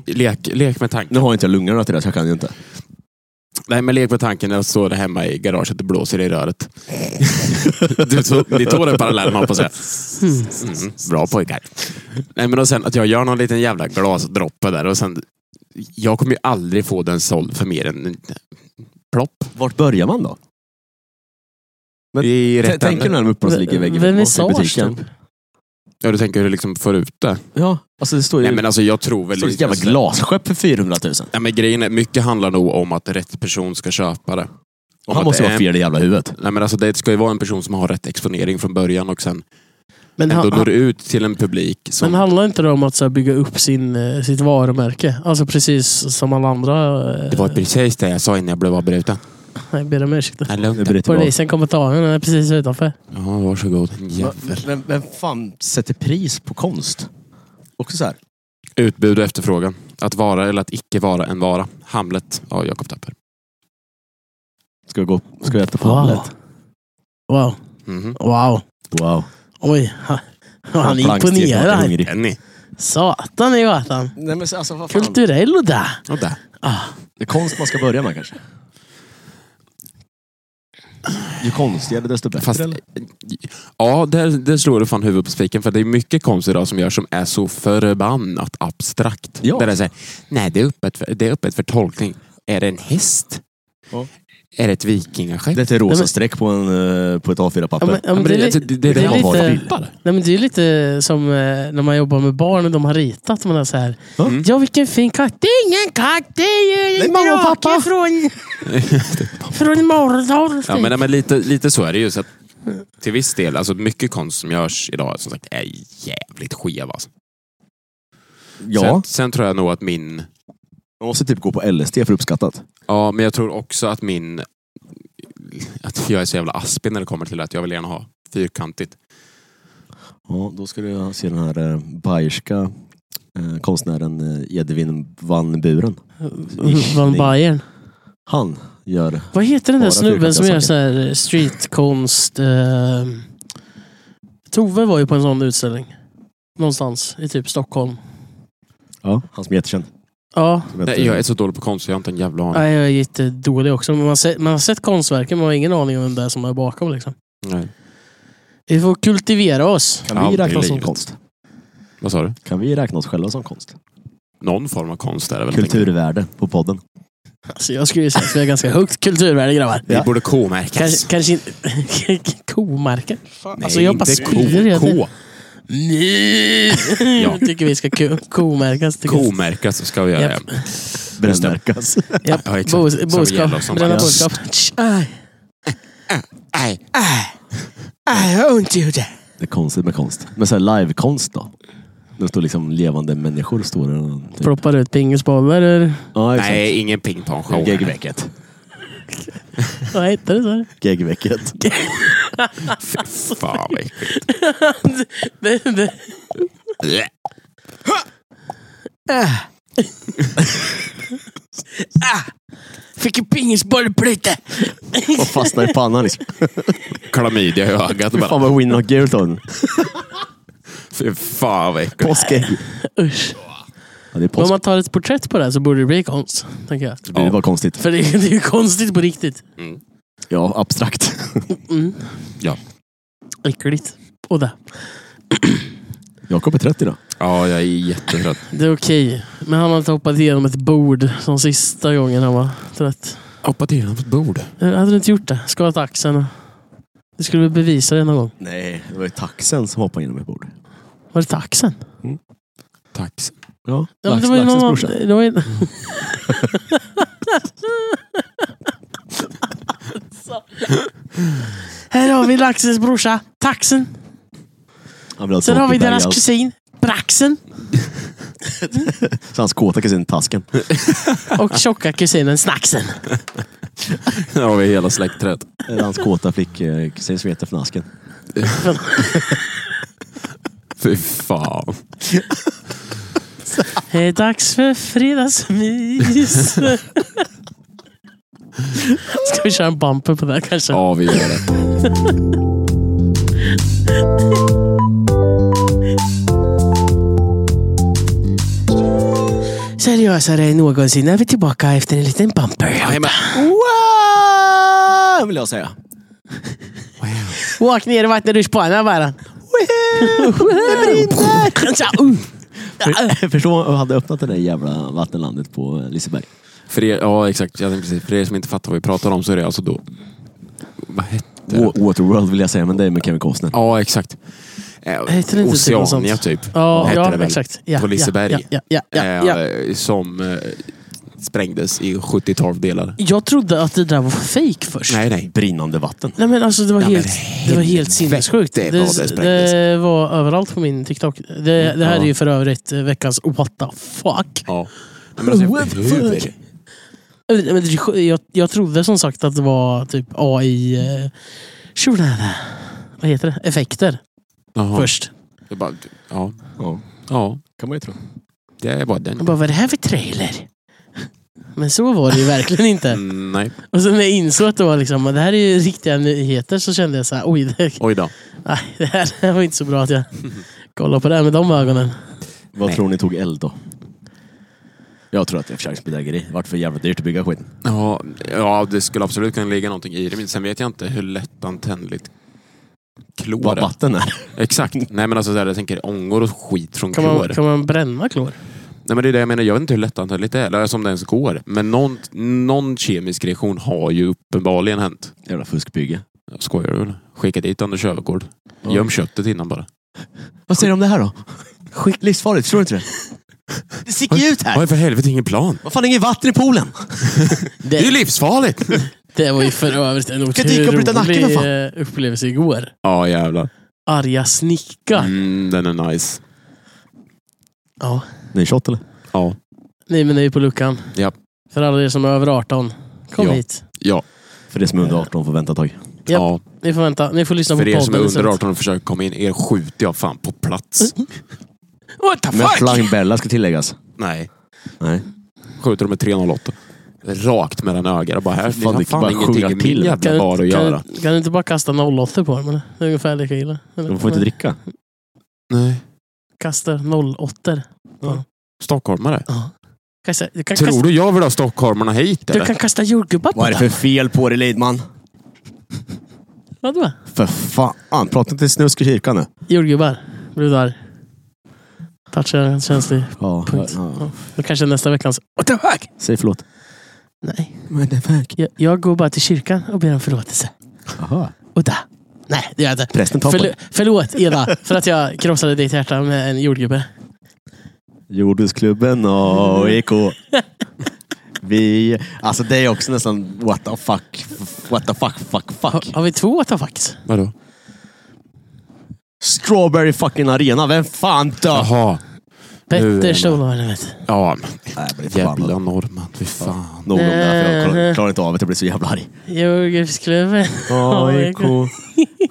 Speaker 2: Lek, lek med tanken.
Speaker 3: nu har inte jag lungorna till det så jag kan ju inte.
Speaker 2: Nej men lek med tanken när jag står där hemma i garaget och blåser i röret. du tog, ni tog den parallellen man på säga. Mm, bra pojkar. Nej men och sen att jag gör någon liten jävla glasdroppe där och sen. Jag kommer ju aldrig få den såld för mer än en plopp.
Speaker 3: Vart börjar man då? Men
Speaker 2: I
Speaker 3: T-
Speaker 2: rätt
Speaker 3: Tänk er
Speaker 2: ände.
Speaker 3: när de uppblåsta ligger i väggen
Speaker 1: Vem är
Speaker 3: i
Speaker 1: Sars
Speaker 3: butiken.
Speaker 1: typ?
Speaker 2: Ja du tänker hur du liksom får ut det.
Speaker 3: Ja, alltså det står ju...
Speaker 2: Nej men alltså jag tror
Speaker 3: det
Speaker 2: väl...
Speaker 3: står ett jävla
Speaker 2: alltså,
Speaker 3: glasskepp för 400 000.
Speaker 2: Nej, men grejen är, mycket handlar nog om att rätt person ska köpa det. Om
Speaker 3: Han
Speaker 2: att
Speaker 3: måste
Speaker 2: det
Speaker 3: vara
Speaker 2: är-
Speaker 3: fel i jävla huvudet.
Speaker 2: Nej, men alltså, det ska ju vara en person som har rätt exponering från början och sen
Speaker 1: Men,
Speaker 2: ändå
Speaker 1: han,
Speaker 2: når ut till en publik. Som,
Speaker 1: men handlar inte det om att så här, bygga upp sin, eh, sitt varumärke? Alltså precis som alla andra. eh,
Speaker 2: Det var precis det jag sa innan jag blev avbruten.
Speaker 1: Nej, ber om ursäkt.
Speaker 2: Nej, lugnt.
Speaker 3: bryter vi av.
Speaker 1: Polisen kommer ta henne. Den är precis utanför.
Speaker 2: Ja, varsågod. En
Speaker 3: Men-
Speaker 2: Jävel.
Speaker 3: Men vem fan sätter pris på konst? Också så här.
Speaker 2: Utbud och efterfrågan. Att vara eller att icke vara en vara. Hamlet av Jakob Tapper.
Speaker 3: Ska vi, gå, ska vi äta på
Speaker 1: Wow.
Speaker 3: Hamlet?
Speaker 1: Wow.
Speaker 2: Mhm.
Speaker 1: Wow.
Speaker 3: Wow.
Speaker 1: Oj. ha- Han
Speaker 3: Blankstek, jag är
Speaker 1: imponerar.
Speaker 3: hungrig.
Speaker 2: Jenny.
Speaker 1: Satan i gatan.
Speaker 3: Nej, men så- alltså, vad fan.
Speaker 1: Kulturell och där.
Speaker 2: Och där.
Speaker 1: Ah.
Speaker 3: Det är konst man ska börja med kanske. Ju konstigare desto bättre.
Speaker 2: Fast,
Speaker 3: eller?
Speaker 2: ja, där, där slår du fan huvudet på spiken. För det är mycket konst idag som görs som är så förbannat abstrakt.
Speaker 3: Ja.
Speaker 2: Där det är så här, nej det är, öppet för, det är öppet för tolkning. Är det en häst?
Speaker 3: Ja.
Speaker 2: Är det ett vikingaskepp?
Speaker 3: Det är ett rosa
Speaker 1: Nej, men-
Speaker 3: streck på, en, eh, på ett
Speaker 1: Ja,
Speaker 3: A4-papper.
Speaker 1: men, ja,
Speaker 2: Ja,
Speaker 1: men
Speaker 2: men
Speaker 1: det, är
Speaker 2: alltså,
Speaker 1: li-
Speaker 2: det,
Speaker 1: det är
Speaker 2: där man
Speaker 1: lite-
Speaker 2: vill.
Speaker 1: nej, men det är lite som eh, när man jobbar med barn och de har ritat. Man är så här,
Speaker 3: Mm.
Speaker 1: Ja, vilken fin katt. Det är ingen katt. Det är ju
Speaker 3: Det är
Speaker 1: en
Speaker 3: mamma och pappa.
Speaker 1: drake från, från Mordor.
Speaker 2: Ja, men, nej, men lite, lite så är det ju. Så att, till viss del, alltså mycket konst som görs idag som sagt är jävligt skev. Alltså.
Speaker 3: ja,
Speaker 2: Sen, sen tror jag nog att min...
Speaker 3: man måste typ gå på LSD för uppskattat.
Speaker 2: Ja, men jag tror också att min... Att jag är så jävla aspig när det kommer till att jag vill gärna ha fyrkantigt.
Speaker 3: Ja, då ska du se den här eh, bayerska eh, konstnären eh, Edvin van Buren.
Speaker 1: Van Bayern.
Speaker 3: Han gör...
Speaker 1: Vad heter den där
Speaker 3: Bara
Speaker 1: snubben som
Speaker 3: fyrkantiga
Speaker 1: gör så
Speaker 3: saker.
Speaker 1: här streetkonst? Eh, Tove var ju på en sån utställning. Någonstans i typ Stockholm.
Speaker 3: Ja. Han som är jättekänd.
Speaker 1: Ja,
Speaker 3: Som heter-
Speaker 2: Nej, jag är så dålig på konst, jag har inte en jävla aning.
Speaker 1: nej, jag är jättedålig också. Men man, har sett, man har sett konstverken, men man har ingen aning om vem det är som är bakom. Liksom.
Speaker 2: Nej.
Speaker 1: Vi får kultivera oss.
Speaker 3: Kan vi
Speaker 2: Aldrig
Speaker 3: räkna oss som
Speaker 2: livet.
Speaker 3: konst?
Speaker 2: Vad sa du?
Speaker 3: Kan vi räkna oss själva som konst?
Speaker 2: Någon form av konst är det väl?
Speaker 3: Kulturvärde på podden.
Speaker 1: Alltså, jag skulle säga att vi har ganska högt kulturvärde grabbar.
Speaker 2: Vi
Speaker 3: Ja.
Speaker 2: borde K-märkas.
Speaker 1: Kanske, kanske inte... Komarken? Fan,
Speaker 2: Nej,
Speaker 1: alltså jag bara
Speaker 2: inte K.
Speaker 1: skriver hela tiden.
Speaker 2: K.
Speaker 1: Nej!
Speaker 2: Ja.
Speaker 1: Jag tycker vi ska ko- komärkas. tycker jag.
Speaker 2: K-märkas ska vi göra.
Speaker 1: Japp.
Speaker 2: ja.
Speaker 3: Brännmärkas.
Speaker 1: Japp.
Speaker 2: Ja, exakt.
Speaker 1: Bo-
Speaker 2: Som gäller
Speaker 1: Boskap.
Speaker 2: som
Speaker 1: Bränna
Speaker 2: bara-
Speaker 1: boskap. Tsch, Aj, aj, aj, jag har ont i huvudet.
Speaker 3: Det är konstigt med konst. Men så här livekonst då? Det står liksom levande människor. Står det någon- typ.
Speaker 1: Ploppar ut pingisbollar ur...
Speaker 3: Ja, exakt.
Speaker 2: Nej, ingen pingpongshow.
Speaker 3: Geggvecket.
Speaker 1: Vad heter det? Så?
Speaker 3: Geggvecket.
Speaker 2: Fy fan vad äckligt.
Speaker 1: Det, det. Fick en pingisboll i plötet.
Speaker 3: Och fastnar i pannan liksom.
Speaker 2: Klamydia i ögat.
Speaker 3: Fy fan
Speaker 2: Bara,
Speaker 3: vad Winnie har gult hår.
Speaker 2: fy fan vad äckligt.
Speaker 3: Påskägg.
Speaker 1: Usch.
Speaker 3: Ja, det är
Speaker 1: Men om
Speaker 3: påsk.
Speaker 1: man tar ett porträtt på det här så borde det bli konst. Tänker jag.
Speaker 3: Det blir bara konstigt.
Speaker 1: För det, är- det är ju konstigt på riktigt.
Speaker 3: Ja, abstrakt.
Speaker 1: Mm.
Speaker 2: Ja.
Speaker 1: Äckligt. Och det.
Speaker 3: Jakob är trött idag.
Speaker 2: Ja, jag är jättetrött.
Speaker 1: Det är okej. Men han har inte hoppat igenom ett bord som sista gången han var trött.
Speaker 2: Hoppat igenom ett bord.
Speaker 1: Eh, Hade du inte gjort det? Skadat axeln. Du skulle väl bevisa det någon gång?
Speaker 3: Nej, det var ju taxen som hoppade genom ett bord.
Speaker 1: Var det inte axeln?
Speaker 2: Tack.
Speaker 3: Ja,
Speaker 1: Ja, men
Speaker 3: Lax-
Speaker 1: det var ju
Speaker 3: Laxens
Speaker 1: någon...
Speaker 3: brorsa.
Speaker 1: Det var ju... Här har vi laxens brorsa, taxen.
Speaker 3: Han blev alltså
Speaker 1: Sen har vi
Speaker 3: Åkerberg,
Speaker 1: deras
Speaker 3: alltså.
Speaker 1: kusin, braxen.
Speaker 3: Så hans kåta kusin Tasken.
Speaker 1: Och tjocka kusinen, snacksen.
Speaker 2: Nu har vi hela släktträdet.
Speaker 3: Eller Eh, hans kåta flickkusin som heter Fnasken.
Speaker 2: Fy fan.
Speaker 1: Det är dags för fredagsmys. Ska vi köra en bumper på det här kanske?
Speaker 2: Ja, vi gör det.
Speaker 1: Seriösare än någonsin är vi tillbaka efter en liten bumper.
Speaker 3: Wow! Ah, Vill jag säga.
Speaker 1: Åk ner i vattenrutschbanan bara.
Speaker 3: Förstå om jag hade öppnat det där jävla vattenlandet på eh, Liseberg.
Speaker 2: För er, ja, exakt. Jag tänkte precis. För er som inte fattar vad vi pratar om så är det alltså då... Vad hette det?
Speaker 3: Wa- Waterworld vill jag säga, men det är med Kevin Costner.
Speaker 2: Ja, exakt. Eh,
Speaker 1: Heter det inte typ något
Speaker 2: Oceania
Speaker 1: sånt?
Speaker 2: typ.
Speaker 1: Ja,
Speaker 2: hette det
Speaker 1: ja
Speaker 2: väl.
Speaker 1: exakt. Ja,
Speaker 2: På Liseberg.
Speaker 1: Ja, ja, ja, ja,
Speaker 2: Eh,
Speaker 1: ja, ja.
Speaker 2: Som eh, sprängdes i 70-12 delar.
Speaker 1: Jag trodde att det där var fake först. Nej.
Speaker 2: Nej, nej.
Speaker 3: Brinnande vatten.
Speaker 1: men alltså det var
Speaker 2: Ja, men
Speaker 1: helt, det var helt
Speaker 2: helvete
Speaker 1: sinnessjukt.
Speaker 2: vad det
Speaker 1: Det,
Speaker 2: sprängdes. Mm,
Speaker 1: det var överallt på min TikTok. Det, det här
Speaker 2: ja.
Speaker 1: är ju för övrigt eh, veckans what the fuck.
Speaker 2: Ja. Nej, men alltså,
Speaker 1: What the
Speaker 2: hur-
Speaker 1: fuck? Eh, Men det är sj- jag, jag trodde som sagt att det var typ AI... Eh, tjolala. vad heter det? Effekter
Speaker 2: Jaha.
Speaker 1: först.
Speaker 2: Det är bara, ja.
Speaker 3: Ja,
Speaker 2: ja,
Speaker 3: kan man ju tro.
Speaker 2: det är bara
Speaker 1: Jag
Speaker 2: den.
Speaker 1: bara, vad är det här för trailer? Men så var det ju verkligen inte.
Speaker 2: Mm, nej,
Speaker 1: Och sen när jag insåg att det var liksom, det här är ju riktiga nyheter så kände jag så här, oj, det,
Speaker 2: oj då.
Speaker 1: nej, det här var inte så bra att jag kollade på det här med de ögonen.
Speaker 3: Vad
Speaker 2: Nej.
Speaker 3: tror ni tog eld då? Jag tror att det är försöksbedrägeri. Vart för jävla dyrt att bygga skiten.
Speaker 2: Ja, ja, det skulle absolut kunna ligga någonting i det. Men sen vet jag inte hur lättantändligt klor
Speaker 3: Vad
Speaker 2: är.
Speaker 3: vatten är.
Speaker 2: Exakt. Nej men alltså, så här, jag tänker ångor och skit från
Speaker 1: Kan
Speaker 2: klor.
Speaker 1: man, kan man bränna klor?
Speaker 2: Nej men det är det jag menar. Jag vet inte hur lättantändligt det är. Eller som det ens går. Men någon, någon kemisk reaktion har ju uppenbarligen hänt.
Speaker 3: Jävla fuskbygge.
Speaker 2: Jag skojar du eller? Skicka dit Anders Öfvergård.
Speaker 3: Ja.
Speaker 2: Göm köttet innan bara.
Speaker 3: Vad säger du om det här då? Skick livsfarligt, förstår du inte det? Det sticker ju ut
Speaker 2: Har
Speaker 3: här!
Speaker 2: jag för helvete ingen plan?
Speaker 3: Vad fan, inget vatten i poolen!
Speaker 2: Det är ju
Speaker 1: Det,
Speaker 2: livsfarligt!
Speaker 1: det var ju för övrigt en
Speaker 3: Kan dyka upp utan nacken,
Speaker 1: otrolig
Speaker 3: för fan.
Speaker 1: eh, upplevelse igår.
Speaker 2: Ja jävlar.
Speaker 1: Arga snickar.
Speaker 2: Mm, den är nice.
Speaker 1: Ja.
Speaker 3: Ny shot eller?
Speaker 2: Ja.
Speaker 1: Nej men det är ju på luckan.
Speaker 2: Ja.
Speaker 1: För alla er som är över 18. Kom
Speaker 2: Ja.
Speaker 1: hit.
Speaker 2: Ja.
Speaker 3: För det som är under 18 får vänta ett tag.
Speaker 1: Japp.
Speaker 2: ja.
Speaker 1: Ni får vänta. Ni får lyssna
Speaker 2: För
Speaker 1: på
Speaker 2: er som är
Speaker 1: podden.
Speaker 2: under
Speaker 1: istället.
Speaker 2: 18 och försöker komma in, er skjuter jag fan på
Speaker 1: Mm.
Speaker 2: plats.
Speaker 1: What the
Speaker 3: Men
Speaker 1: fuck?
Speaker 3: flangbella ska tilläggas.
Speaker 2: Nej.
Speaker 3: Nej.
Speaker 2: Skjuter dem med 308. Rakt mellan ögat. och Bara här,
Speaker 3: Fan,
Speaker 2: fan,
Speaker 3: det
Speaker 2: har
Speaker 3: kan bara
Speaker 2: fan ingenting
Speaker 3: sjunga
Speaker 2: i min
Speaker 3: till.
Speaker 1: Kan
Speaker 2: jävla
Speaker 1: du-
Speaker 2: bar att
Speaker 1: kan,
Speaker 2: göra.
Speaker 1: du- kan du inte bara kasta 08 på dem? Eller? Det är ungefär lika illa. Eller?
Speaker 3: De får inte dricka.
Speaker 2: Nej.
Speaker 1: Kastar 08
Speaker 2: Stockholmare.
Speaker 1: Ja. Kasta, du, kan
Speaker 2: Tror
Speaker 1: kasta,
Speaker 2: du jag vill ha stockholmarna hit
Speaker 1: du
Speaker 2: eller?
Speaker 1: kan kasta jordgubbar på
Speaker 3: Vad är det
Speaker 1: dem.
Speaker 3: för fel på dig Lidman?
Speaker 1: Vadå?
Speaker 3: För fan, prata inte snusk i kyrkan nu.
Speaker 1: Jordgubbar. Brudar. Touchar en känslig
Speaker 3: Ja,
Speaker 1: punkt. Ja. Då kanske nästa veckans... What the fuck?
Speaker 3: Säg förlåt.
Speaker 1: Nej.
Speaker 3: What the fuck?
Speaker 1: Jag, jag går bara till kyrkan och ber om förlåtelse.
Speaker 3: Aha.
Speaker 1: Och där. Nej, det gör jag inte.
Speaker 3: Prästen tar på
Speaker 1: Förl- förlåt Eda, för att jag krossade ditt hjärta med en jordgubbe.
Speaker 3: Jordbruksklubben AIK. Vi... Alltså det är också nästan what the fuck, what the fuck, fuck,
Speaker 1: Har,
Speaker 3: fuck.
Speaker 1: har vi två faktiskt?
Speaker 2: Vadå?
Speaker 3: Strawberry fucking arena, vem fan dör?
Speaker 2: Jaha. Nu är
Speaker 1: Petter
Speaker 2: det-
Speaker 1: Stolvarnevet.
Speaker 2: Ja, men
Speaker 3: Nej, jag blir förbannad.
Speaker 2: jävla norrman. Fy fan.
Speaker 3: Nog om det, här, för jag klarar-
Speaker 1: Nej.
Speaker 3: klarar inte av att jag blir så jävla arg.
Speaker 1: Jordgubbsklubben.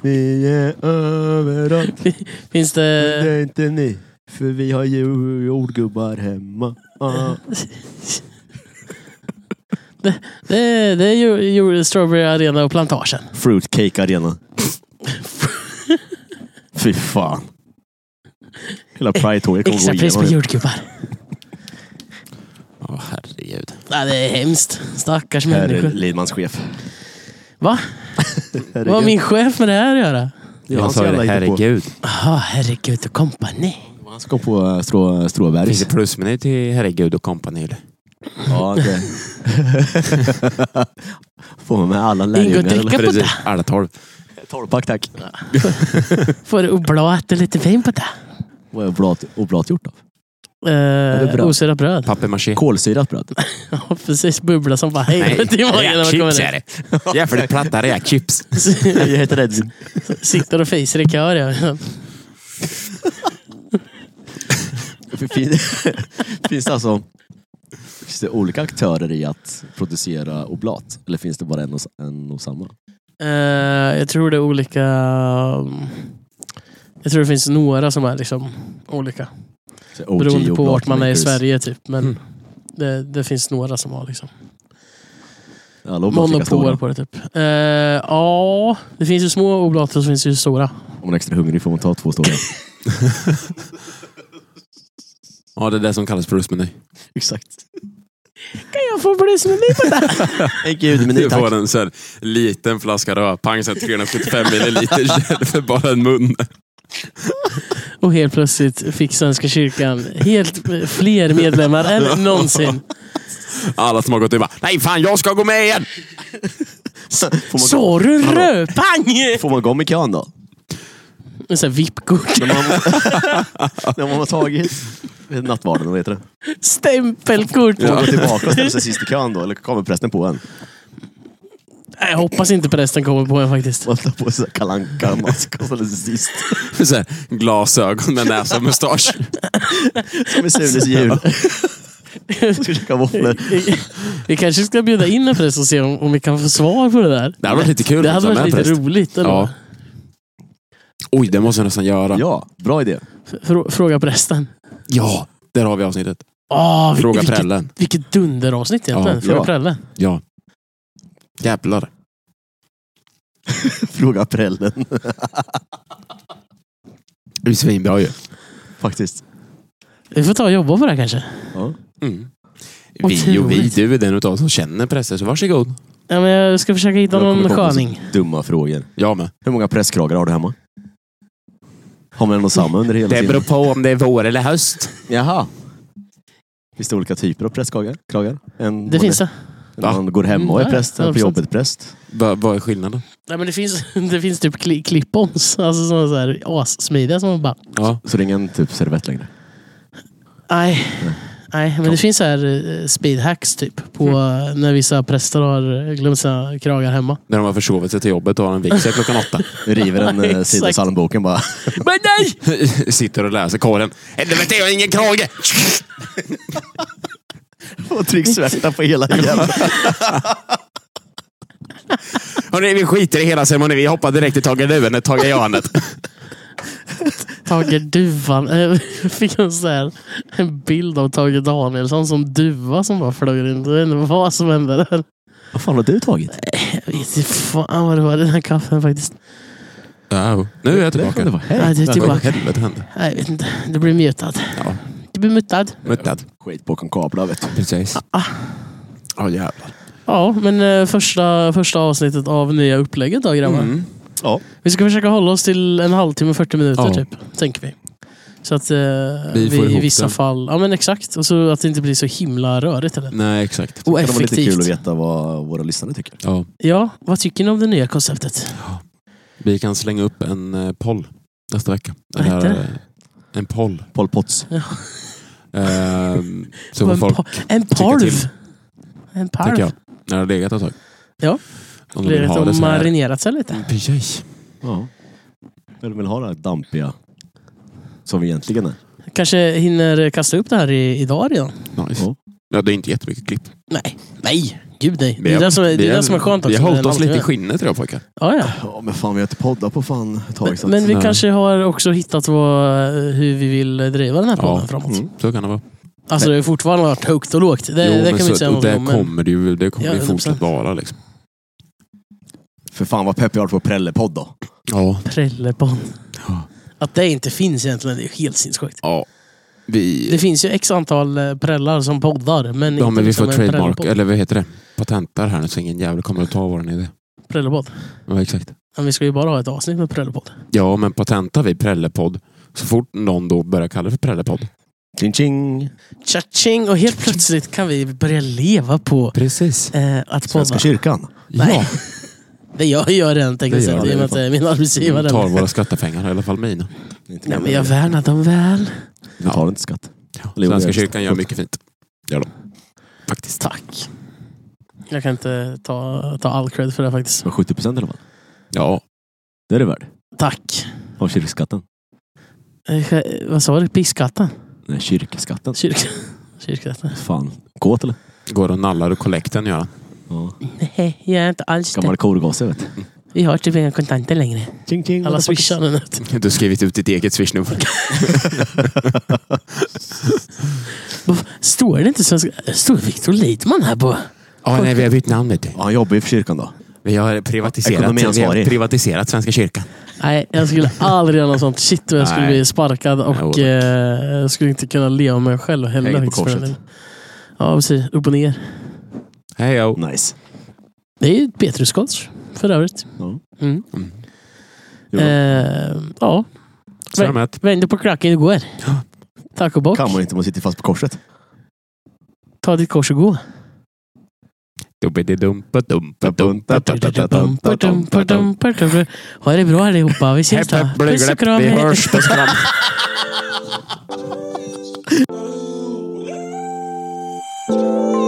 Speaker 3: vi är
Speaker 1: Eh.
Speaker 3: överallt.
Speaker 1: Finns det...
Speaker 3: är inte ni, för vi har ju jordgubbar hemma. Ah.
Speaker 1: Det är, det är ju, ju, Strawberry Arena och Plantagen.
Speaker 3: Fruitcake arena. Fy fan. Hela Pride-tåget kommer gå
Speaker 1: Extra pris på
Speaker 3: igenom.
Speaker 1: jordgubbar.
Speaker 2: Ja, herregud.
Speaker 1: Ja, det är hemskt. Stackars
Speaker 3: Här är
Speaker 1: människor.
Speaker 3: Lidmans chef.
Speaker 1: Va? Vad har min chef med det här att göra?
Speaker 3: Ja,
Speaker 2: Jag sa
Speaker 3: jävla
Speaker 2: det,
Speaker 3: hittepå.
Speaker 2: herregud.
Speaker 1: Jaha, herregud och kompani.
Speaker 3: Han ska på eh, strå,
Speaker 2: Finns
Speaker 3: Stråbergs.
Speaker 2: det plusmeny till herregud och kompani? eller?
Speaker 3: Ja, det. Får med alla
Speaker 1: Ingodricka.
Speaker 3: lärjungar.
Speaker 1: på
Speaker 2: Precis,
Speaker 1: det.
Speaker 2: alla tolv.
Speaker 3: Torvpack tack.
Speaker 1: Får du oblat och lite fin på det?
Speaker 3: Vad är oblat, oblat gjort av? det
Speaker 1: Eh,
Speaker 3: bröd?
Speaker 1: Osyrat bröd.
Speaker 2: Papier-maché.
Speaker 3: Kolsyrat bröd.
Speaker 1: Ja, precis. Bubbla som bara
Speaker 2: Nej,
Speaker 1: helvete i magen när man
Speaker 2: räkchips
Speaker 1: kommer
Speaker 2: är
Speaker 1: in.
Speaker 2: det. Jävligt platta räkchips.
Speaker 3: Jag heter Edvin.
Speaker 1: Sitter och fiser i kör. Ja.
Speaker 3: Finns, finns det alltså finns det olika aktörer i att producera oblat? Eller finns det bara en och, en och samma?
Speaker 1: Eh, jag tror det är olika... Jag tror det finns några som är liksom olika.
Speaker 3: Så OG
Speaker 1: Beroende på vart man är i
Speaker 3: oblatmakers.
Speaker 1: Sverige typ. Men
Speaker 2: Mm.
Speaker 1: det, det finns några som har liksom
Speaker 3: Alla oblat lika
Speaker 1: monopol
Speaker 3: stora.
Speaker 1: på det typ. Eh, Ja, det finns ju små oblater och så finns det ju stora.
Speaker 3: Om man är extra hungrig får man ta två stora.
Speaker 2: Ja, det är det som kallas plusmeny.
Speaker 3: Exakt.
Speaker 1: Kan jag få bli som en liten
Speaker 3: En gudmeny
Speaker 2: Du får
Speaker 3: tack.
Speaker 2: en sån här liten flaska rödpang, så här 375 milliliter istället för bara en mun.
Speaker 1: Och helt plötsligt fick Svenska kyrkan helt eh, fler medlemmar än någonsin.
Speaker 2: Alla som har gått in bara, nej fan jag ska gå med igen!
Speaker 3: Får man,
Speaker 1: Sa du rödpang?
Speaker 3: får man gå med kön då?
Speaker 1: Med såhär VIP-kort.
Speaker 3: När man, när man har tagit nattvarden, vad heter det?
Speaker 1: Stämpelkort.
Speaker 3: Får man gå tillbaka och ställa sig sist i kön då? Eller kommer prästen på en?
Speaker 1: Nej, Jag hoppas inte prästen kommer på en faktiskt.
Speaker 3: Man tar på sig kalanka mask och ställer sig sist.
Speaker 2: Så här, glasögon med näsa och mustasch.
Speaker 3: Som i Sunes jul. Ska käka våfflor.
Speaker 1: Vi- Vi kanske ska bjuda in en präst och se om, om vi kan få svar på det där.
Speaker 2: Det hade varit lite kul.
Speaker 1: Det
Speaker 2: att
Speaker 1: hade
Speaker 2: ta
Speaker 1: varit
Speaker 2: med
Speaker 1: lite
Speaker 2: präst.
Speaker 1: roligt. Eller?
Speaker 2: Ja. Oj, det måste jag nästan göra. Ja,
Speaker 3: Ja, bra idé.
Speaker 1: Frå- Fråga prästen.
Speaker 2: där har vi avsnittet.
Speaker 1: Oh,
Speaker 2: Fråga
Speaker 1: vilket,
Speaker 2: prällen.
Speaker 1: vilket dunderavsnitt egentligen.
Speaker 2: Ja,
Speaker 1: Fråga
Speaker 3: ja.
Speaker 1: prällen.
Speaker 2: Ja. Jävlar.
Speaker 3: Fråga prällen.
Speaker 2: Det är svinbra ju.
Speaker 3: Faktiskt.
Speaker 1: Vi får ta och jobba på det här kanske.
Speaker 3: Ja.
Speaker 2: Mm. Vi och vi,
Speaker 1: Otroligt.
Speaker 2: du är den utav oss som känner präster, så varsågod.
Speaker 1: Ja, men jag ska försöka hitta
Speaker 3: Jag kommer
Speaker 1: någon
Speaker 3: komma på
Speaker 1: sköning.
Speaker 3: så Dumma frågor.
Speaker 2: Jag med.
Speaker 3: Hur många presskragar har du hemma? Har man en och samma under hela tiden?
Speaker 2: på om det är vår eller höst.
Speaker 3: Jaha. Finns det olika typer av presskragar? Kragar? En,
Speaker 1: Det finns det.
Speaker 3: En man går hemma och är
Speaker 1: Ja,
Speaker 3: präst, en på
Speaker 1: 100%.
Speaker 3: jobbet präst.
Speaker 2: vad är skillnaden?
Speaker 1: Nej, men det, finns, det finns typ kli- clip-ons. Alltså sådana så här assmidiga som man bara...
Speaker 2: Ja.
Speaker 3: Så det är ingen typ servett längre.
Speaker 1: Nej. Nej, men det finns så här eh, speedhacks typ. På
Speaker 3: Mm.
Speaker 1: eh, när vissa präster har eh, glömt sina kragar hemma.
Speaker 2: När de har försovit sig till jobbet och har en vigsel klockan åtta.
Speaker 3: River en eh,
Speaker 1: Exakt.
Speaker 3: sida i psalmboken bara.
Speaker 1: Men nej!
Speaker 2: Sitter och läser kåren. Helvete, jag har ingen krage!
Speaker 3: Och trycks svärta på hela jävla...
Speaker 2: Hörrni, vi skiter i hela ceremonin. Vi hoppar direkt till Tage Luen, Tage Janet.
Speaker 1: Tage Duvan. Eh, Jag fick en, så här, en bild av Tage Danielsson som duva som bara flög runt. Jag vet inte vad som hände där.
Speaker 3: Vad fan har du tagit?
Speaker 1: Jag vet inte fan vad det var i den här kaffen faktiskt.
Speaker 2: Nu är
Speaker 3: Det kan det
Speaker 2: jag tillbaka.
Speaker 3: vara. Hej.
Speaker 1: Nej, det är
Speaker 2: Vad i
Speaker 1: tillbaka.
Speaker 2: helvete hände?
Speaker 1: Nej, jag vet inte. Du blir mutad.
Speaker 2: Ja.
Speaker 1: Du blir mutad.
Speaker 2: Muttad.
Speaker 3: Skit på konkabla vet du.
Speaker 2: Precis. Ja, jävlar. Mm.
Speaker 1: Ja, men eh, första, första avsnittet av nya upplägget då grabbar.
Speaker 3: Ja.
Speaker 1: Vi ska försöka hålla oss till en halvtimme, 40 minuter
Speaker 2: Ja.
Speaker 1: typ. Tänker vi. Så att eh, vi,
Speaker 2: Vi får
Speaker 1: i
Speaker 2: ihop
Speaker 1: vissa
Speaker 2: det.
Speaker 1: fall... Ja men exakt. Och så att det inte blir så himla rörigt eller?
Speaker 2: Nej, exakt.
Speaker 1: Och
Speaker 3: Det kan vara lite kul att
Speaker 1: effektivt.
Speaker 3: veta vad våra lyssnare tycker.
Speaker 2: Ja.
Speaker 1: Ja, vad tycker ni om det nya konceptet?
Speaker 2: Vi kan slänga upp en eh, poll nästa vecka.
Speaker 1: Vad heter
Speaker 2: Eller, eh, En poll.
Speaker 3: Pol Potts.
Speaker 2: Ehm, så
Speaker 1: Och
Speaker 2: får
Speaker 1: en,
Speaker 2: folk,
Speaker 1: pa- en
Speaker 2: till.
Speaker 1: parv! En
Speaker 2: tänker
Speaker 1: parv.
Speaker 2: jag. När det har legat ett tag.
Speaker 1: Ja.
Speaker 2: Om de
Speaker 1: Det
Speaker 2: vill
Speaker 1: är
Speaker 2: ha det
Speaker 1: lite
Speaker 2: så här.
Speaker 1: marinerat sig lite.
Speaker 2: Precis.
Speaker 3: Ja. Eller vill ha det här dampiga som vi egentligen är.
Speaker 1: Kanske hinner kasta upp det här i, idag redan?
Speaker 2: Nice.
Speaker 3: Ja.
Speaker 2: Ja, det är inte jättemycket klipp.
Speaker 1: Nej. Nej. Gud nej.
Speaker 2: Vi
Speaker 1: Det är
Speaker 2: har-
Speaker 1: det som är, det
Speaker 2: vi
Speaker 1: är
Speaker 2: har-
Speaker 1: det som är skönt också.
Speaker 2: Vi har
Speaker 1: med
Speaker 2: hållit
Speaker 1: en
Speaker 2: oss lite i
Speaker 1: halvtimme.
Speaker 2: skinnet idag pojkar.
Speaker 1: Ja, ja.
Speaker 3: Ja, men fan vi har inte poddat på fan ett tag. så att-
Speaker 1: Men vi
Speaker 2: Nej.
Speaker 1: kanske har också hittat vad, hur vi vill driva den här podden framåt.
Speaker 3: Mm.
Speaker 2: Så kan det vara.
Speaker 1: Alltså det har fortfarande varit högt och lågt. Det, det
Speaker 2: men
Speaker 1: kan vi
Speaker 2: så-
Speaker 1: inte säga
Speaker 2: och
Speaker 1: något
Speaker 2: det
Speaker 1: om. Men,
Speaker 2: kommer det ju, det kommer
Speaker 1: Ja,
Speaker 2: ju
Speaker 1: 100%.
Speaker 2: fortsatt vara. Liksom.
Speaker 3: För fan vad pepp jag har på Prelle-podd då.
Speaker 2: Ja.
Speaker 1: Prellepodd. Att det inte finns egentligen, det är ju helt sinnessjukt.
Speaker 2: ja. Vi,
Speaker 1: Det finns ju x antal eh, prällar som poddar, men
Speaker 2: ja,
Speaker 1: inte
Speaker 2: men vi får
Speaker 1: liksom en
Speaker 2: trademark,
Speaker 1: prellepodd.
Speaker 2: eller vad heter det? Patentar här nu så ingen jävel kommer att ta vår idé.
Speaker 1: Prellepodd.
Speaker 2: Ja, exakt.
Speaker 1: Men vi ska ju bara ha ett avsnitt med prellepodd.
Speaker 2: Ja, men patentar vi Prellepodd så fort någon då börjar kalla det för Prellepodd.
Speaker 3: Ching ching.
Speaker 1: Tjatjing! Och helt plötsligt kan vi börja leva på
Speaker 2: Precis.
Speaker 1: eh, att podda.
Speaker 3: Svenska kyrkan.
Speaker 1: Nej.
Speaker 2: Ja,
Speaker 1: Det gör jag redan tekniskt
Speaker 2: Det
Speaker 1: sett,
Speaker 2: gör
Speaker 1: i och
Speaker 2: det.
Speaker 1: med att det är min
Speaker 2: de
Speaker 1: arbetsgivare.
Speaker 2: tar våra skattepengar, i alla fall mina.
Speaker 1: Nej, men jag värnar dem väl.
Speaker 3: Vi tar inte skatt. Eller jo, det
Speaker 2: Svenska
Speaker 3: är
Speaker 2: kyrkan gör
Speaker 3: sant.
Speaker 2: mycket fint. Gör de. Faktiskt.
Speaker 1: Tack. Jag kan inte ta, ta all cred för det faktiskt.
Speaker 3: Men 70 procent i alla fall.
Speaker 2: Ja,
Speaker 3: Det är det värd.
Speaker 1: Tack.
Speaker 3: Av kyrkskatten.
Speaker 1: Eh, Vad sa du? Piskatten?
Speaker 3: Nej, kyrkskatten.
Speaker 1: Kyrk... Kyrkskatten?
Speaker 3: Fan. Kåt eller?
Speaker 2: går och nallar och kollekten gör han.
Speaker 3: Ja.
Speaker 1: Nej, jag är inte alls det.
Speaker 3: Gammal korgosse vet du.
Speaker 1: Vi har typ inga kontanter längre.
Speaker 3: Ching ching.
Speaker 1: Alla swishar nu.
Speaker 2: Du har skrivit ut ditt eget swishnummer.
Speaker 1: Står det inte svenska... Står Viktor Lidman här på...
Speaker 2: Ja, nej, vi har bytt namn vet du.
Speaker 3: Ja, han jobbar ju för kyrkan då.
Speaker 2: Vi har privatiserat, vi
Speaker 3: Ekonomiansvarig.
Speaker 2: har privatiserat Svenska kyrkan.
Speaker 1: Nej, jag skulle aldrig göra något sånt. Shit vad jag skulle
Speaker 2: Nej.
Speaker 1: bli sparkad
Speaker 2: Jo,
Speaker 1: och
Speaker 2: tack.
Speaker 1: eh, jag skulle inte kunna leva med mig själv heller.
Speaker 3: Hänger på
Speaker 1: faktiskt, för den
Speaker 3: korset.
Speaker 1: delen. Ja, precis. Upp och ner.
Speaker 2: Hej jo.
Speaker 3: Nice.
Speaker 1: Det är ju ett Petrusskors för övrigt.
Speaker 3: Ja.
Speaker 1: Mm.
Speaker 3: Jo,
Speaker 1: Eh, ja,
Speaker 2: Så är de ett.
Speaker 1: vänder på klacken och går.
Speaker 2: Ja.
Speaker 1: Tack och bock.
Speaker 3: kan man inte om man sitter fast på korset.
Speaker 1: Ta ditt kors och gå. Ha det bra allihopa. Vi ses då. Puss och kram.
Speaker 2: Vi
Speaker 1: hej.
Speaker 2: hörs. Puss och kram.
Speaker 4: Thank